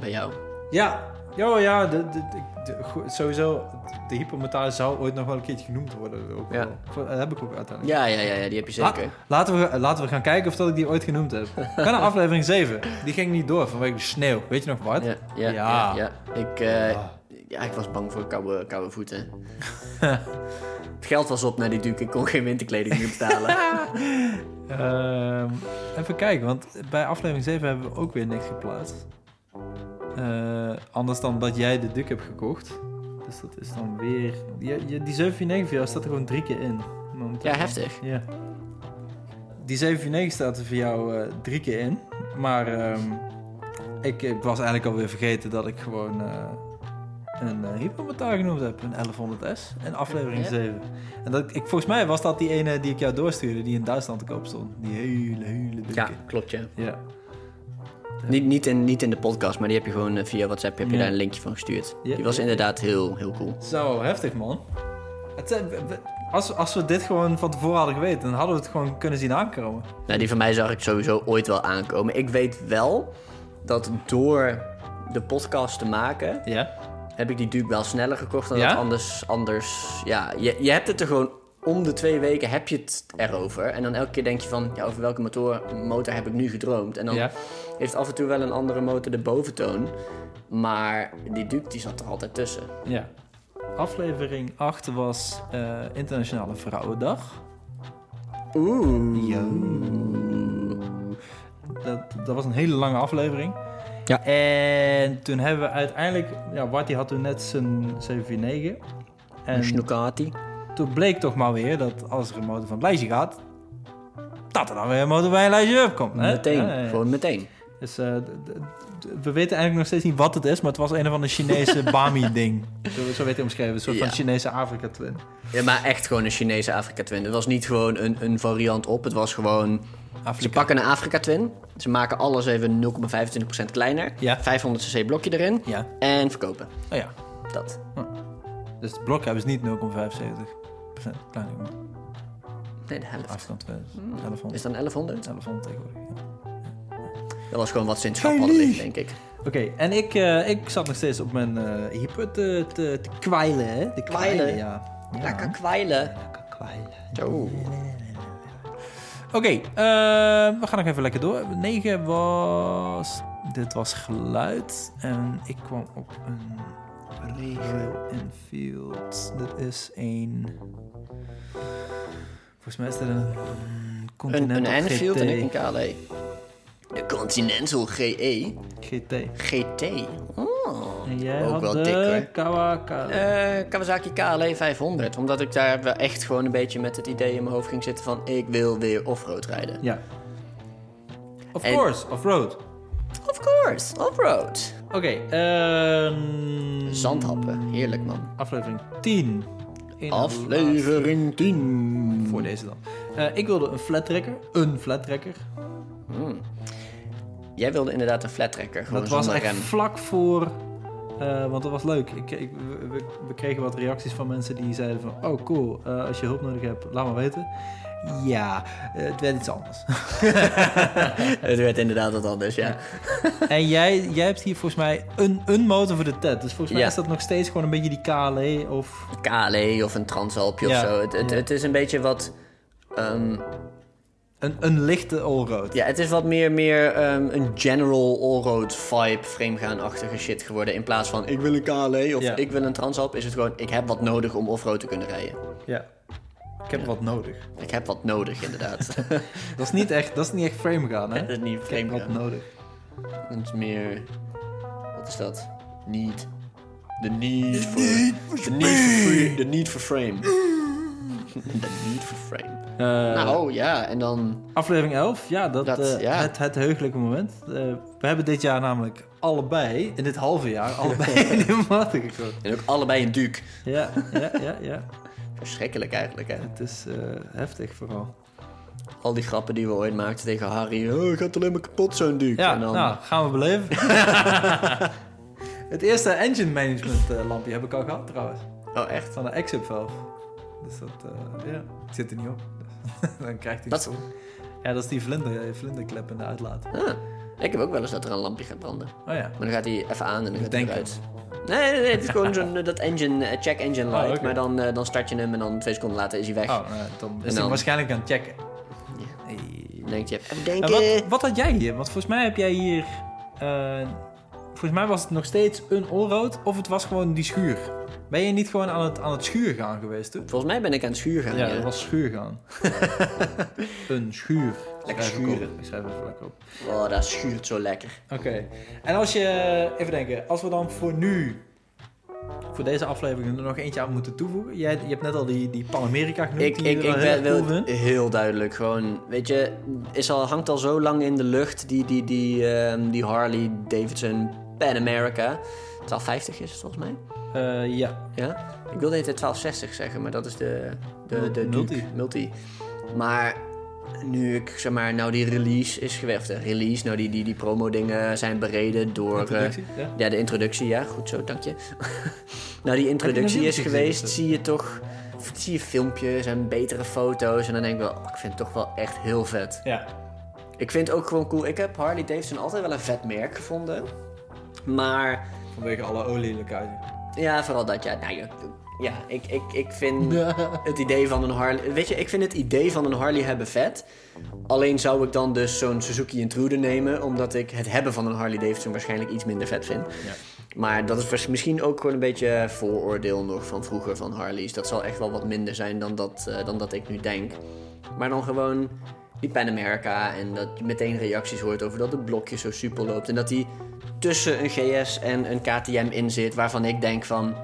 B: Bij jou.
A: Ja, ja, oh, ja de, de, de- de- go- sowieso. De hypermetaal zou ooit nog wel een keertje genoemd worden. Ook
B: Ja.
A: wel. Voor- Dat heb ik ook uiteindelijk.
B: Ja, ja, ja, ja die heb je
A: La-
B: zeker.
A: laten, we, laten we gaan kijken of dat ik die ooit genoemd heb. Kan naar aflevering 7. Die ging niet door vanwege de sneeuw. Weet je nog wat?
B: Ja, ja, ja.
A: Ja.
B: ja. Ik, eh, ja, ik was bang voor koude, koude voeten. het geld was op naar die duke. Ik kon geen winterkleding meer betalen.
A: Ehm, even kijken, want bij aflevering 7 hebben we ook weer niks geplaatst. Eh, anders dan dat jij de Duke hebt gekocht. Dus dat is dan weer... Die, die- die 749 voor jou staat er gewoon drie keer in. Momenteel.
B: ja, heftig.
A: Ja. Die 749 staat er voor jou eh, drie keer in. Maar ehm, ik, ik was eigenlijk alweer vergeten dat ik gewoon eh, een uh, genoemd heb. Een 1100S. In aflevering
B: Ja.
A: 7. En dat, ik, volgens mij was dat die ene die ik jou doorstuurde. Die in Duitsland te koop stond. Die hele, hele dikke.
B: Ja, klopt ja.
A: Ja.
B: Niet, niet, in, niet in de podcast, maar die heb je gewoon eh, via WhatsApp heb je
A: Ja.
B: daar een linkje van gestuurd.
A: Ja.
B: Die was inderdaad heel, heel cool.
A: Zo, heftig man. Het, zijn- we- we- als, als we dit gewoon van tevoren hadden geweten, dan hadden we het gewoon kunnen zien aankomen.
B: Nou, die van mij zag ik sowieso ooit wel aankomen. Ik weet wel dat door de podcast te maken,
A: Ja.
B: heb ik die Duke wel sneller gekocht dan
A: Ja?
B: dat anders, anders... Ja, je, je hebt het er gewoon... Om de twee weken heb je het erover. En dan elke keer denk je van... Ja, over welke motor, motor heb ik nu gedroomd? En dan
A: Ja.
B: heeft af en toe wel een andere motor de boventoon. Maar die Duke die zat er altijd tussen.
A: Ja. Aflevering 8 was eh, Internationale Vrouwendag.
B: Oeh.
A: Dat, dat was een hele lange aflevering.
B: Ja.
A: En toen hebben we uiteindelijk... Ja, Barty had toen net zijn 749. En
B: Snoekati.
A: toen bleek toch maar weer dat als er een motor van het lijstje gaat... dat er dan weer een motor bij een lijstje up komt. hè?
B: Meteen.
A: Ja, ja, ja.
B: Gewoon meteen.
A: Dus eh, d- d- d- we weten eigenlijk nog steeds niet wat het is... maar het was een of ander Chinese Bami-ding. Zo, zo werd hij omschreven. Een soort
B: Ja.
A: van Chinese Afrika-twin.
B: Ja, maar echt gewoon een Chinese Afrika Twin. Het was niet gewoon een, een variant op. Het was gewoon Ze
A: Afrika.
B: pakken een Afrika Twin. Ze maken alles even 0,25% kleiner.
A: Ja.
B: 500 cc blokje erin.
A: Ja.
B: En verkopen.
A: Oh ja.
B: Dat.
A: Dus het blok hebben ze niet 0,75% kleiner gemaakt.
B: Nee, de helft.
A: Afstand 1100.
B: Is dan 1100?
A: 1100 tegenwoordig. ja.
B: Dat was gewoon wat ze in het
A: Geen
B: schap hadden
A: lief.
B: liggen, denk ik.
A: Oké, en ik, eh, ik zat nog steeds op mijn eh hyper te, te, te kwijlen, hè? Te
B: Kwijlen?
A: ja. ja.
B: Lekker kwijlen.
A: Lekker kwijlen.
B: Zo.
A: Oké, eh, we gaan nog even lekker door. 9 was... Dit was geluid. En ik kwam op een Royal Enfield. Dit is een... Volgens mij is dit een...
B: Een, een
A: Continental
B: Enfield en ik een
A: GT.
B: KLE. De Continental GE.
A: GT.
B: GT. Oh.
A: En jij
B: Ook
A: had
B: wel
A: de
B: dik, hoor.
A: Kawaka.
B: Eh, Kawasaki KLE 500. Omdat ik daar wel echt gewoon een beetje met het idee in mijn hoofd ging zitten van... ik wil weer offroad rijden.
A: Ja. Of
B: En-
A: course, off-road.
B: Of course, offroad.
A: Oké, ehm,
B: Zandhappen, heerlijk man.
A: aflevering 10. Eén laatste
B: Aflevering 10.
A: Voor deze dan. Eh, ik wilde een flat tracker. Een flat tracker.
B: Jij wilde inderdaad een flat tracker, gewoon
A: Dat was
B: zonder
A: echt
B: rem.
A: vlak voor... eh, want dat was leuk. Ik, ik, we, we- we kregen wat reacties van mensen die zeiden van... Oh, cool. eh, als je hulp nodig hebt, laat maar weten. Ja, eh, het werd iets anders.
B: Het werd inderdaad wat anders, ja.
A: en jij, jij hebt hier volgens mij een, een motor voor de TED. Dus volgens mij
B: Ja.
A: is dat nog steeds gewoon een beetje die KLE of...
B: KLE E of een Transalpje
A: Ja,
B: of zo. Het, het,
A: ja.
B: het is een beetje wat... ehm,
A: Een, een lichte allroad.
B: ja, het is wat meer, meer ehm, een general allroad vibe framegaan-achtige shit geworden. In plaats van ik wil een KLE of
A: Ja.
B: ik wil een Transalp, is het gewoon ik heb wat nodig om offroad te kunnen rijden.
A: Ja. Ik heb wat nodig.
B: Ik heb wat nodig, inderdaad.
A: Dat is niet echt, dat is niet echt frame gaan, hè?
B: Dat is niet
A: Ik heb wat
B: framegaan.
A: nodig.
B: Het is meer... Wat is dat? Need. The need for... The need for, free- the need for frame. The need for frame. nou ja, en dan...
A: Aflevering 11, ja, dat,
B: Dat,
A: eh,
B: ja.
A: Het, het heugelijke moment. Eh, we hebben dit jaar namelijk allebei, in dit halve jaar, allebei in de maten gekozen.
B: En ook allebei een duke.
A: Ja, ja, ja, ja.
B: Verschrikkelijk eigenlijk, hè.
A: Het is eh, heftig vooral.
B: Al die grappen die we ooit maakten tegen Harry. Oh, gaat alleen maar kapot zo'n duke.
A: Ja,
B: en dan...
A: nou, gaan we beleven. het eerste engine management eh, lampje heb ik al gehad trouwens.
B: Oh, echt?
A: Van de exit valve. Dus dat, eh, ja, het zit er niet op. dus Dan krijgt hij
B: Dat-
A: Ja, dat is die vlinder, eh, vlinderklep in de uitlaat.
B: Ah, ik heb ook wel eens dat er een lampje gaat branden.
A: Oh ja.
B: Maar dan gaat hij even aan en dan gaat hij
A: denk
B: eruit. Nee, nee, nee, het is gewoon zo'n eh, dat engine, eh, check engine light.
A: Oh, oké.
B: Maar dan, eh, dan start je hem en dan twee seconden later is hij weg.
A: Oh, nou, dan is
B: En
A: hij
B: dan-
A: waarschijnlijk aan het checken.
B: Ja.
A: Hey.
B: Dan denk je, even
A: En
B: denken.
A: wat, wat had jij hier? Want volgens mij heb jij hier... eh, volgens mij was het nog steeds een onrood of het was gewoon die schuur. Ben je niet gewoon aan het, aan het schuur gaan geweest toen?
B: Volgens mij ben ik aan het schuur gaan.
A: Ja,
B: ja.
A: dat was schuur gaan. een schuur.
B: Lekker
A: Schrijf ik
B: schuren.
A: op. Ik schrijf even lekker op.
B: Oh, dat schuurt zo lekker.
A: Oké. En als je... Even denken. Als we dan voor nu... Voor deze aflevering er nog eentje aan moeten toevoegen. Jij, je hebt net al die, die Pan America genoemd.
B: Ik,
A: die je
B: ik,
A: wel
B: ik
A: heel
B: ben,
A: erg
B: wil
A: cool vindt.
B: heel duidelijk gewoon, weet je, is al, hangt al zo lang in de lucht die, die, die, ehm, die Harley Davidson Pan America. 1250 is het volgens mij.
A: Eh, ja,
B: Ja? Ik wilde het 1260 zeggen, maar dat is de, de, de
A: Multi.
B: Duke, multi. Maar nu ik zeg maar, nou die release is gewerkt. De release, nou die, die, die promo dingen zijn bereden door. eh,
A: Introductie, ja.
B: Ja, de introductie, ja, goed zo, dank je. nou, die
A: Heb
B: introductie
A: je
B: is
A: nog niet
B: geweest,
A: gezien,
B: zie je toch... Zie je filmpjes en betere foto's en dan denk ik wel... oh, ik vind het toch wel echt heel vet.
A: Ja.
B: Ik vind het ook gewoon cool... Ik heb Harley Davidson altijd wel een vet merk gevonden. Maar
A: Vanwege alle olielekage.
B: ja, vooral dat, ja. Nou, ja, ja ik, ik, ik vind het idee van een Harley... Weet je, ik vind het idee van een Harley hebben vet. Alleen zou ik dan dus zo'n Suzuki Intruder nemen... omdat ik het hebben van een Harley Davidson waarschijnlijk iets minder vet vind.
A: Ja.
B: Maar dat is waarsch- misschien ook gewoon een beetje vooroordeel nog van vroeger van Harley's. Dat zal echt wel wat minder zijn dan dat, eh, dan dat ik nu denk. Maar dan gewoon die Pan America en dat je meteen reacties hoort over dat het blokje zo super loopt. En dat die tussen een GS en een KTM in zit, waarvan ik denk van...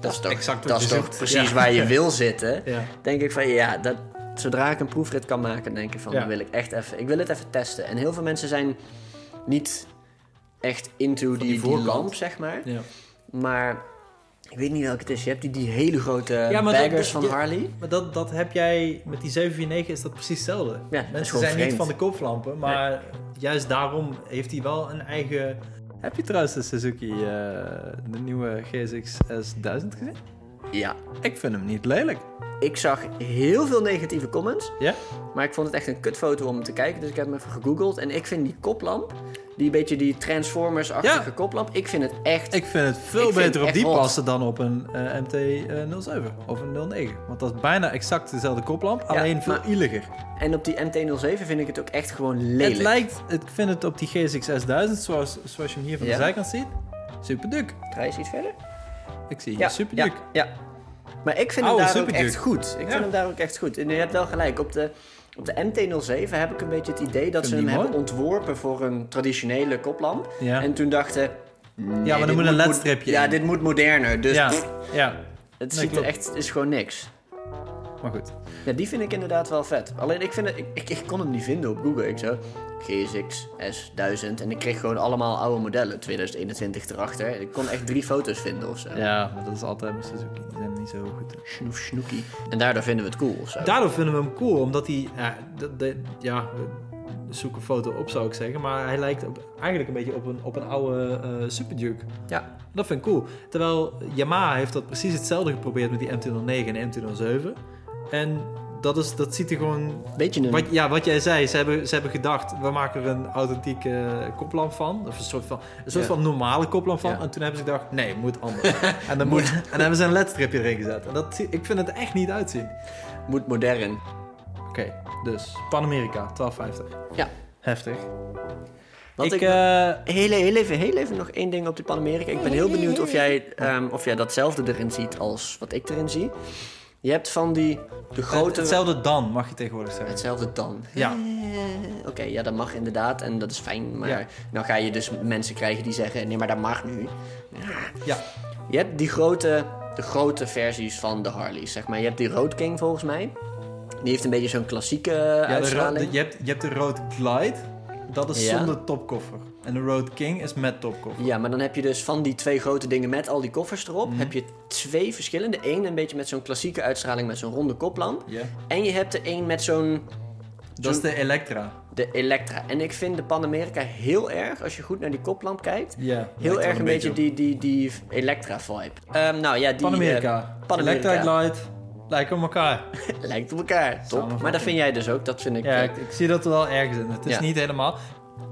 B: Dat is toch,
A: exact wat
B: dat is
A: je
B: toch
A: zoekt.
B: precies
A: Ja.
B: waar je wil zitten.
A: Ja.
B: Denk ik van ja, dat, zodra ik een proefrit kan maken, denk ik van
A: Ja.
B: dan wil ik echt even... Ik wil het even testen. En heel veel mensen zijn niet echt into die, die,
A: voorkant.
B: lamp, zeg maar.
A: Ja.
B: Maar Ik weet niet welke het is. Je hebt die, die hele grote
A: Ja, maar dat- dus
B: baggers
A: dat-
B: van
A: ja.
B: Harley.
A: Maar dat, dat heb jij met die 749 is dat precies hetzelfde.
B: dat is
A: Mensen
B: gewoon
A: zijn niet
B: vreemd.
A: van de kooplampen, maar juist daarom heeft hij wel een eigen. Heb je trouwens de Suzuki, eh, de nieuwe GSX S1000 gezien?
B: Ja.
A: Ik vind hem niet lelijk.
B: Ik zag heel veel negatieve comments.
A: Ja?
B: Maar ik vond het echt een kutfoto om te kijken. Dus ik heb hem even gegoogeld. En ik vind die koplamp, die een beetje die Transformers-achtige
A: Ja.
B: koplamp, ik vind het echt...
A: Ik vind het veel
B: Ik vind
A: beter op
B: het
A: die
B: echt hot.
A: passen dan op een eh, MT-07 of een 09. Want dat is bijna exact dezelfde koplamp, alleen veel
B: maar-
A: ieliger.
B: En op die MT-07 vind ik het ook echt gewoon lelijk.
A: Het lijkt, ik vind het op die GSX S1000, zoals, zoals je hem hier van
B: Ja.
A: de zijkant ziet, super duk.
B: Ga je eens iets verder?
A: Ik zie hier super duk.
B: Ja, ja. Maar ik vind
A: Oude
B: hem daar ook
A: Superduke.
B: echt goed. Ik
A: Ja.
B: vind hem daar ook echt goed. En je hebt wel gelijk. Op de, op de MT-07 heb ik een beetje het idee
A: Vind
B: dat ze
A: je
B: hem
A: die
B: hebben
A: mooi?
B: ontworpen voor een traditionele koplamp.
A: Ja.
B: En toen dachten...
A: Ja, maar
B: dit
A: dan moet een ledstripje
B: Ja,
A: in.
B: dit moet moderner. Dus
A: ja,
B: pff,
A: ja,
B: het
A: Nee,
B: ziet er
A: klopt.
B: echt... is gewoon niks.
A: maar goed.
B: Ja, die vind ik inderdaad wel vet. Alleen ik, vind het, ik, ik, ik kon hem niet vinden op Google. Ik zo... GSX S1000. En ik kreeg gewoon allemaal oude modellen. 2021 erachter. Ik kon echt drie foto's vinden of zo.
A: Ja, maar dat is altijd bij Suzuki. Die zijn niet zo goed.
B: Snoef, snoekie. En daardoor vinden we het cool of zo.
A: Daardoor vinden we hem cool, omdat hij... Ja, de, de- ja we zoeken een foto op, zou ik zeggen. Maar hij lijkt op- eigenlijk een beetje op een, op een oude eh Super Duke.
B: Ja.
A: Dat vind ik cool. Terwijl Yamaha heeft dat precies hetzelfde geprobeerd met die M209 en M207. En dat, is, dat ziet er gewoon...
B: Beetje een...
A: Wat, ja, wat jij zei, ze hebben, ze hebben gedacht... we maken er een authentieke eh, koplamp van. Of een soort van, een soort
B: Ja.
A: van normale koplamp van.
B: Ja.
A: En toen hebben ze gedacht, nee, moet anders. en, dan moet, en dan hebben ze een ledstripje erin gezet. En dat, zie- ik vind het echt niet uitzien.
B: Moet modern.
A: Oké, dus Pan-Amerika, 12,50.
B: Ja.
A: Heftig.
B: Want ik,
A: eh,
B: heel, heel, even, heel even nog één ding op de Panamerika. Ik ben heel benieuwd of jij, ehm, of jij datzelfde erin ziet als wat ik erin zie. Je hebt van die de
A: het-
B: grote...
A: hetzelfde dan, mag je tegenwoordig zeggen.
B: Hetzelfde dan.
A: Ja.
B: Eh, Oké, ja, dat mag inderdaad en dat is fijn. Maar
A: Ja.
B: dan ga je dus mensen krijgen die zeggen, nee, maar dat mag nu.
A: Ja,
B: Je hebt die grote, de grote versies van de Harleys, zeg maar. Je hebt die Road King volgens mij. Die heeft een beetje zo'n klassieke
A: ja de ro-
B: uitstraling.
A: de- je, hebt, je hebt de Road Glide. Dat is
B: Ja.
A: zonder topkoffer. En de Road King is met topkoffer.
B: Ja, maar dan heb je dus van die twee grote dingen met al die koffers erop,
A: Mhm.
B: heb je twee verschillende. Eén een beetje met zo'n klassieke uitstraling met zo'n ronde koplamp.
A: Ja.
B: En je hebt er één met zo'n
A: Dat is de Electra.
B: de Electra. En ik vind de Panamerica heel erg, als je goed naar die koplamp kijkt,
A: Ja.
B: heel erg een beetje die, die, die Electra vibe. Ehm, nou ja, die
A: Panamerica.
B: eh, Panamerica.
A: Electra Glide. Lijken op elkaar.
B: eh, lijkt op elkaar. Top. Maar dat vind jij dus ook. Dat vind ik.
A: Ja,
B: eh,
A: ik, ik zie dat er wel ergens in. Het is
B: Ja.
A: niet helemaal.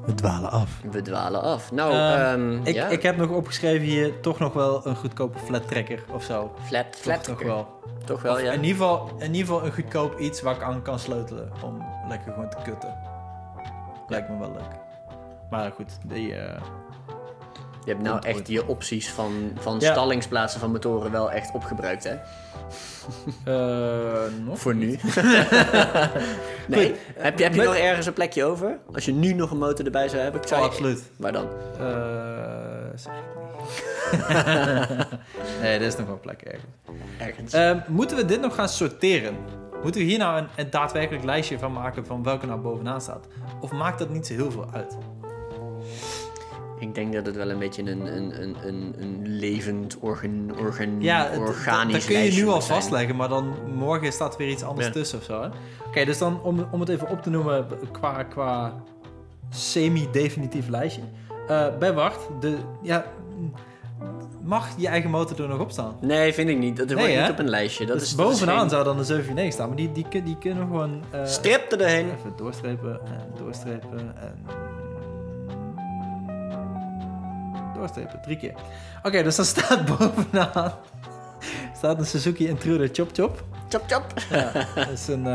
A: We dwalen af.
B: we dwalen af. Nou, ehm,
A: ik,
B: ja.
A: ik heb nog opgeschreven hier toch nog wel een goedkope flat tracker of zo.
B: flat, flat
A: toch, toch wel.
B: Toch wel, ja.
A: In ieder, geval, in ieder geval een goedkoop iets waar ik aan kan sleutelen. Om lekker gewoon te kutten. Lijkt me wel leuk. Maar goed, die... eh,
B: Je hebt nou
A: Komt
B: echt
A: ooit.
B: je opties van, van
A: Ja.
B: stallingsplaatsen van motoren wel echt opgebruikt, hè?
A: eh, nog?
B: Voor nu. nee.
A: Goed.
B: Heb je, heb je
A: Met-
B: nog ergens een plekje over? Als je nu nog een motor erbij zou hebben? zou
A: Oh,
B: je-
A: absoluut.
B: Waar dan?
A: Eh, zeg ik niet. nee, er is nog wel plek ergens.
B: Ergens.
A: Eh, moeten we dit nog gaan sorteren? Moeten we hier nou een, een daadwerkelijk lijstje van maken van welke nou bovenaan staat? Of maakt dat niet zo heel veel uit?
B: ik denk dat het wel een beetje een, een, een, een, een levend organ, organ,
A: Ja, het-
B: Hmm, organisch
A: dat kun je
B: lijstje
A: nu al
B: moet zijn.
A: vastleggen, maar dan morgen staat weer iets anders
B: Ja.
A: tussen of zo. hè? Oké, dus dan om, om het even op te noemen qua, qua semi-definitief lijstje. Eh, bij Wart, de, ja, mag je eigen motor er nog op staan?
B: Nee, vind ik niet. Dat wordt
A: hè?
B: niet op een lijstje. Dat
A: dus
B: is,
A: bovenaan
B: dat is geen-
A: zou dan de 749 staan, maar die, die, kun- die kunnen we gewoon... eh,
B: Strip er doorheen.
A: Even doorstrepen en doorstrepen en... Doorstrepen, drie keer. Oké, dus dan staat bovenaan... staat een Suzuki Intruder Chop Chop.
B: Chop, chop.
A: Ja, dat is een... eh,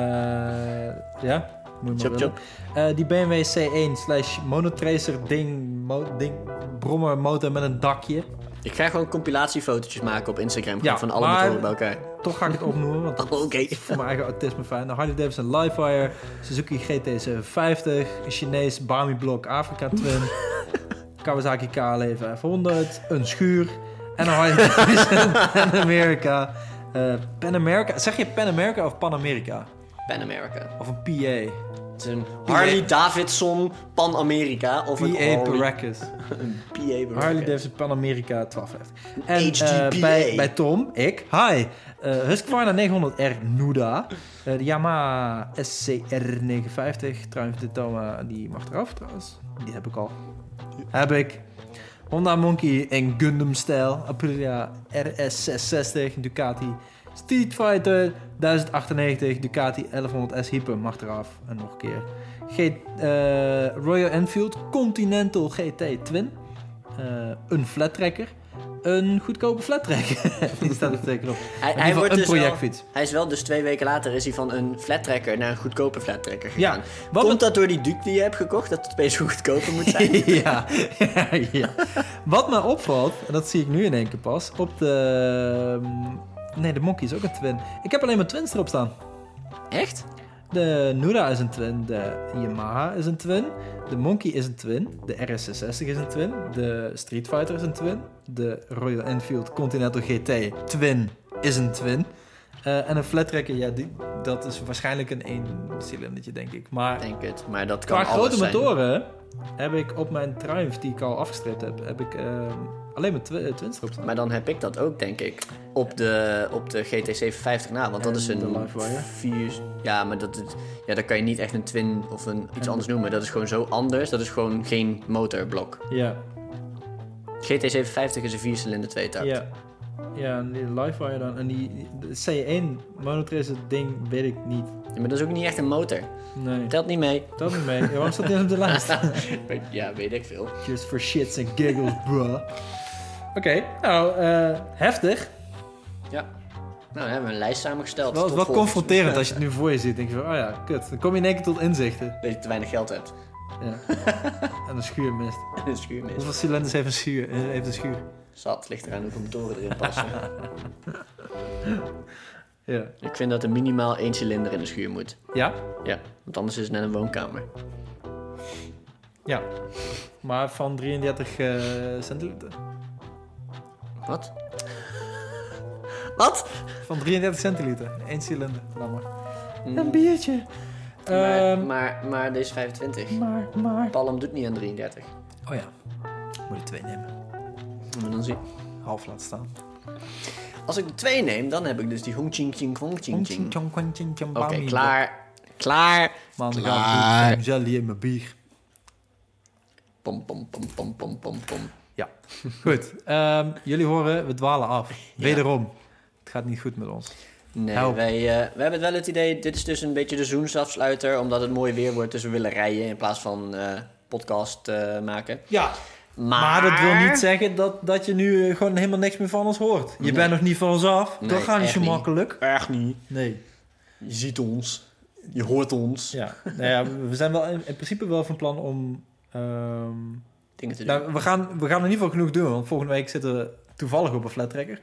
A: ja, moet je maar willen.
B: Chop, chop.
A: Eh, die BMW C1 slash monotracer ding, mo- ding... Brommer motor met een dakje.
B: Ik ga gewoon compilatiefotootjes maken op Instagram. gewoon
A: Ja,
B: van alle
A: maar-
B: motoren bij elkaar.
A: Toch ga ik het opnoemen, want
B: Oh, Oké.
A: is voor mijn eigen autisme fijn. De Harley Davidson Livewire, Suzuki GT750, een Chinees Bami Block Africa Twin, Kawasaki KLE 500, een schuur en een Harley Davidson Pan America. Eh, Pan America. Zeg je Pan America of Pan America?
B: Pan America.
A: Of een PA?
B: Het Het is een Harley Davidson Pan Amerika of een
A: P.A.
B: Harley
A: Baracus.
B: PA Baraka.
A: Harley Davidson Pan America 1250. En
B: HDPA.
A: eh, bij, bij Tom, ik, hi. Eh Husqvarna 900R Nuda. Eh, de Yamaha SCR 950. Trouwens, de Toma, die mag eraf trouwens. Die heb ik al. Heb ik. Honda Monkey in Gundam-stijl. Aprilia RS660 Ducati. Street Fighter 1098 Ducati 1100S Hyper mag eraf. En nog een keer. G- eh, Royal Enfield Continental GT Twin. Eh, een flattrekker. Een goedkope flattrekker. Die staat er zeker op.
B: Hij,
A: In
B: hij,
A: ieder geval
B: wordt
A: een
B: dus wel,
A: projectfiets.
B: hij is wel dus twee weken later is hij van een flattrekker naar een goedkope flattrekker gegaan.
A: Ja, wat
B: Komt dat door die Duke die je hebt gekocht? Dat het opeens goedkoper moet zijn?
A: ja, ja, ja. Wat mij opvalt, en dat zie ik nu in één keer pas, op de... ehm, Nee, de Monkey is ook een twin. Ik heb alleen maar twins erop staan.
B: Echt?
A: De Nura is een twin, de Yamaha is een twin, de Monkey is een twin, de RS66 is een twin, de Street Fighter is een twin, de Royal Enfield Continental GT twin is een twin. Eh, en een flattrekker, ja, die, dat is waarschijnlijk een één cilindertje, denk ik. Maar
B: Denk het, maar dat kan
A: Qua
B: alles
A: grote
B: zijn.
A: motoren heb ik op mijn Triumph, die ik al afgestreept heb, heb ik ehm, alleen mijn twi eh, twins erop staan.
B: Maar dan heb ik dat ook, denk ik, op de, op de GT750 na. Want dat
A: En
B: is
A: de
B: een
A: Livewire.
B: vier... Ja, maar dat, is- ja, dat kan je niet echt een twin of een, iets anders noemen. Dat is gewoon zo anders. Dat is gewoon geen motorblok.
A: Ja,
B: GT750 is een viercilinder tweetakt.
A: ja. Ja, en die Livewire dan. En die die- de C1 monotracer ding weet ik niet.
B: Ja, maar dat is ook niet echt een motor.
A: Nee,
B: Telt niet mee.
A: dat niet mee. Ja, Waarom staat die op de lijst?
B: ja, weet ik veel.
A: Just for shits and giggles, bro. Oké, nou, eh, heftig.
B: Ja. Nou, we hebben een lijst samengesteld.
A: Wel,
B: Tot
A: wel
B: volgende-
A: confronterend als je het nu voor je ziet. denk je van, oh ja, kut. Dan kom je in één keer tot inzichten.
B: Dat je te weinig geld hebt.
A: Ja. en een schuurmist.
B: En een schuurmis.
A: Hoeveel cilinders heeft een schuur? eh, Heeft een schuur?
B: Zat, ligt eraan hoeveel motoren erin passen.
A: Ja.
B: ik vind dat er minimaal één cilinder in de schuur moet.
A: Ja?
B: Ja, want anders is het net een woonkamer.
A: Ja. Maar van 33 eh centiliter.
B: Wat? Wat?
A: Van 33 centiliter. Eén cilinder. Laat maar.
B: Mm,
A: biertje.
B: maar,
A: Ehm,
B: maar, maar deze 25.
A: maar, maar.
B: Palm doet niet aan 33.
A: Oh ja. Moet ik twee nemen.
B: Maar dan zie
A: Half laten staan.
B: Als ik de twee neem, dan heb ik dus die Hong Ching Ching Hong Ching Ching.
A: Oké,
B: Oké, klaar. Klaar.
A: Man, ik
B: Klaar.
A: heb jelly in mijn bier.
B: Pom, pom, pom, pom, pom, pom, pom.
A: Ja. Goed. Ehm, jullie horen, we dwalen af. Wederom. Het gaat niet goed met ons.
B: Nee,
A: Help.
B: wij, eh, we hebben wel het idee, dit is dus een beetje de zoensafsluiter, omdat het mooi weer wordt, dus we willen rijden in plaats van eh, podcast eh, maken.
A: Ja,
B: Maar,
A: maar dat wil niet zeggen dat, dat je nu eh, gewoon helemaal niks meer van ons hoort. Je bent nog niet van ons af.
B: Nee,
A: dat gaat niet
B: echt
A: zo
B: niet.
A: makkelijk.
B: Echt niet.
A: Nee.
B: Je ziet ons. Je hoort ons.
A: Ja, nou ja, we zijn wel in, in principe wel van plan om. ehm,
B: Dingen te doen.
A: nou, we, gaan, we gaan in ieder geval genoeg doen, want volgende week zitten we toevallig op een flattrekker.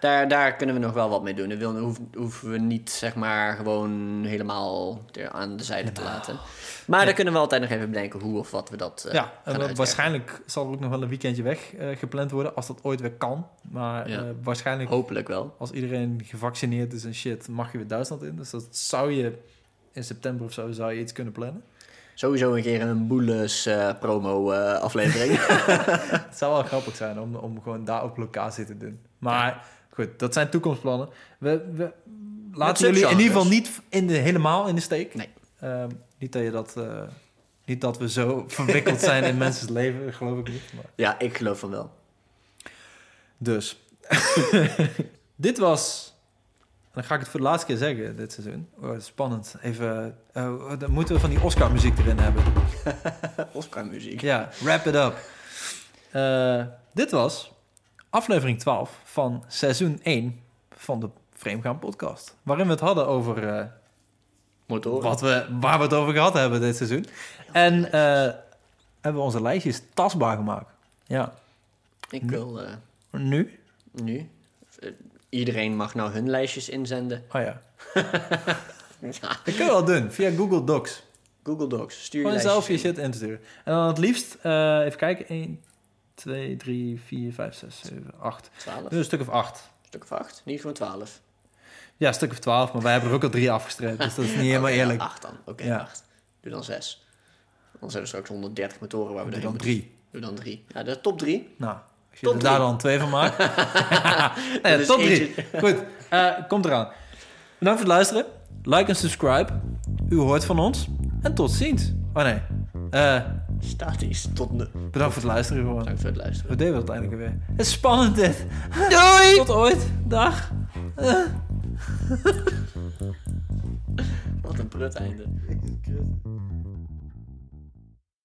B: Daar, daar kunnen we nog wel wat mee doen. Dat wil- hoeven, hoeven we niet, zeg maar, gewoon helemaal er aan de zijde te laten. Maar dan kunnen we altijd nog even bedenken hoe of wat we dat eh,
A: ja, en
B: gaan
A: wa-
B: uitwerken.
A: waarschijnlijk zal er ook nog wel een weekendje weg eh, gepland worden, als dat ooit weer kan. Maar
B: Ja.
A: eh, waarschijnlijk,
B: Hopelijk wel.
A: als iedereen gevaccineerd is en shit, mag je weer Duitsland in. Dus dat zou je in september of zo zou je iets kunnen plannen.
B: Sowieso een keer een boeles eh, promo eh, aflevering.
A: Het zou wel grappig zijn om, om gewoon daar op locatie te doen. Maar goed, dat zijn toekomstplannen. We, we laten jullie in
B: subgenres.
A: ieder geval niet in de, helemaal in de steek.
B: Nee.
A: Ehm, niet dat je dat... eh, niet dat we zo verwikkeld zijn in mensen's leven, geloof ik niet. Maar.
B: ja, ik geloof van wel.
A: Dus. dit was... En dan ga ik het voor de laatste keer zeggen dit seizoen. Oh, spannend. Even... eh, dan moeten we van die Oscar-muziek erin hebben.
B: Oscar muziek.
A: Ja, wrap it up. Eh, dit was aflevering 12 van seizoen 1 van de Framegaan podcast. Waarin we het hadden over eh,
B: Motor.
A: wat we, waar we het over gehad hebben dit seizoen. En eh, hebben we onze lijstjes tastbaar gemaakt. Ja,
B: Ik
A: Hm?
B: wil eh,
A: nu?
B: nu. eh, Iedereen mag nou hun lijstjes inzenden.
A: Oh ja. Dat kun je wel doen, via Google Docs.
B: Google Docs, stuur je
A: Gewoon
B: lijstjes
A: zelf je
B: in.
A: shit in te sturen. En dan het liefst, eh, even kijken, 1, 2, 3, 4, 5, 6, 7, 8.
B: 12,
A: Dus een stuk of 8.
B: stuk of 8. Niet gewoon 12.
A: Ja, een stuk of twaalf, maar wij hebben er ook al drie afgestreept. Dus dat is niet helemaal
B: Oké, dan
A: eerlijk.
B: Acht dan. Oké,
A: Ja.
B: acht. Doe dan zes. Dan zijn er straks 130 motoren waar we
A: Doe
B: doorheen
A: dan
B: moeten.
A: drie.
B: Doe dan drie. Ja, de top drie.
A: Nou, als je
B: Top
A: er
B: drie.
A: daar dan twee van maakt. nee,
B: is
A: top drie.
B: eentje.
A: Goed, eh, komt eraan. Bedankt voor het luisteren. Like en subscribe. U hoort van ons. En tot ziens. Oh nee. Eh,
B: Statisch. Tot nu.
A: bedankt voor het luisteren gewoon.
B: Bedankt voor het luisteren.
A: Hoe deden we dat eigenlijk weer? Het is spannend dit. Doei! Tot ooit. Dag.
B: Wat een prut einde.
A: Jezus Christus.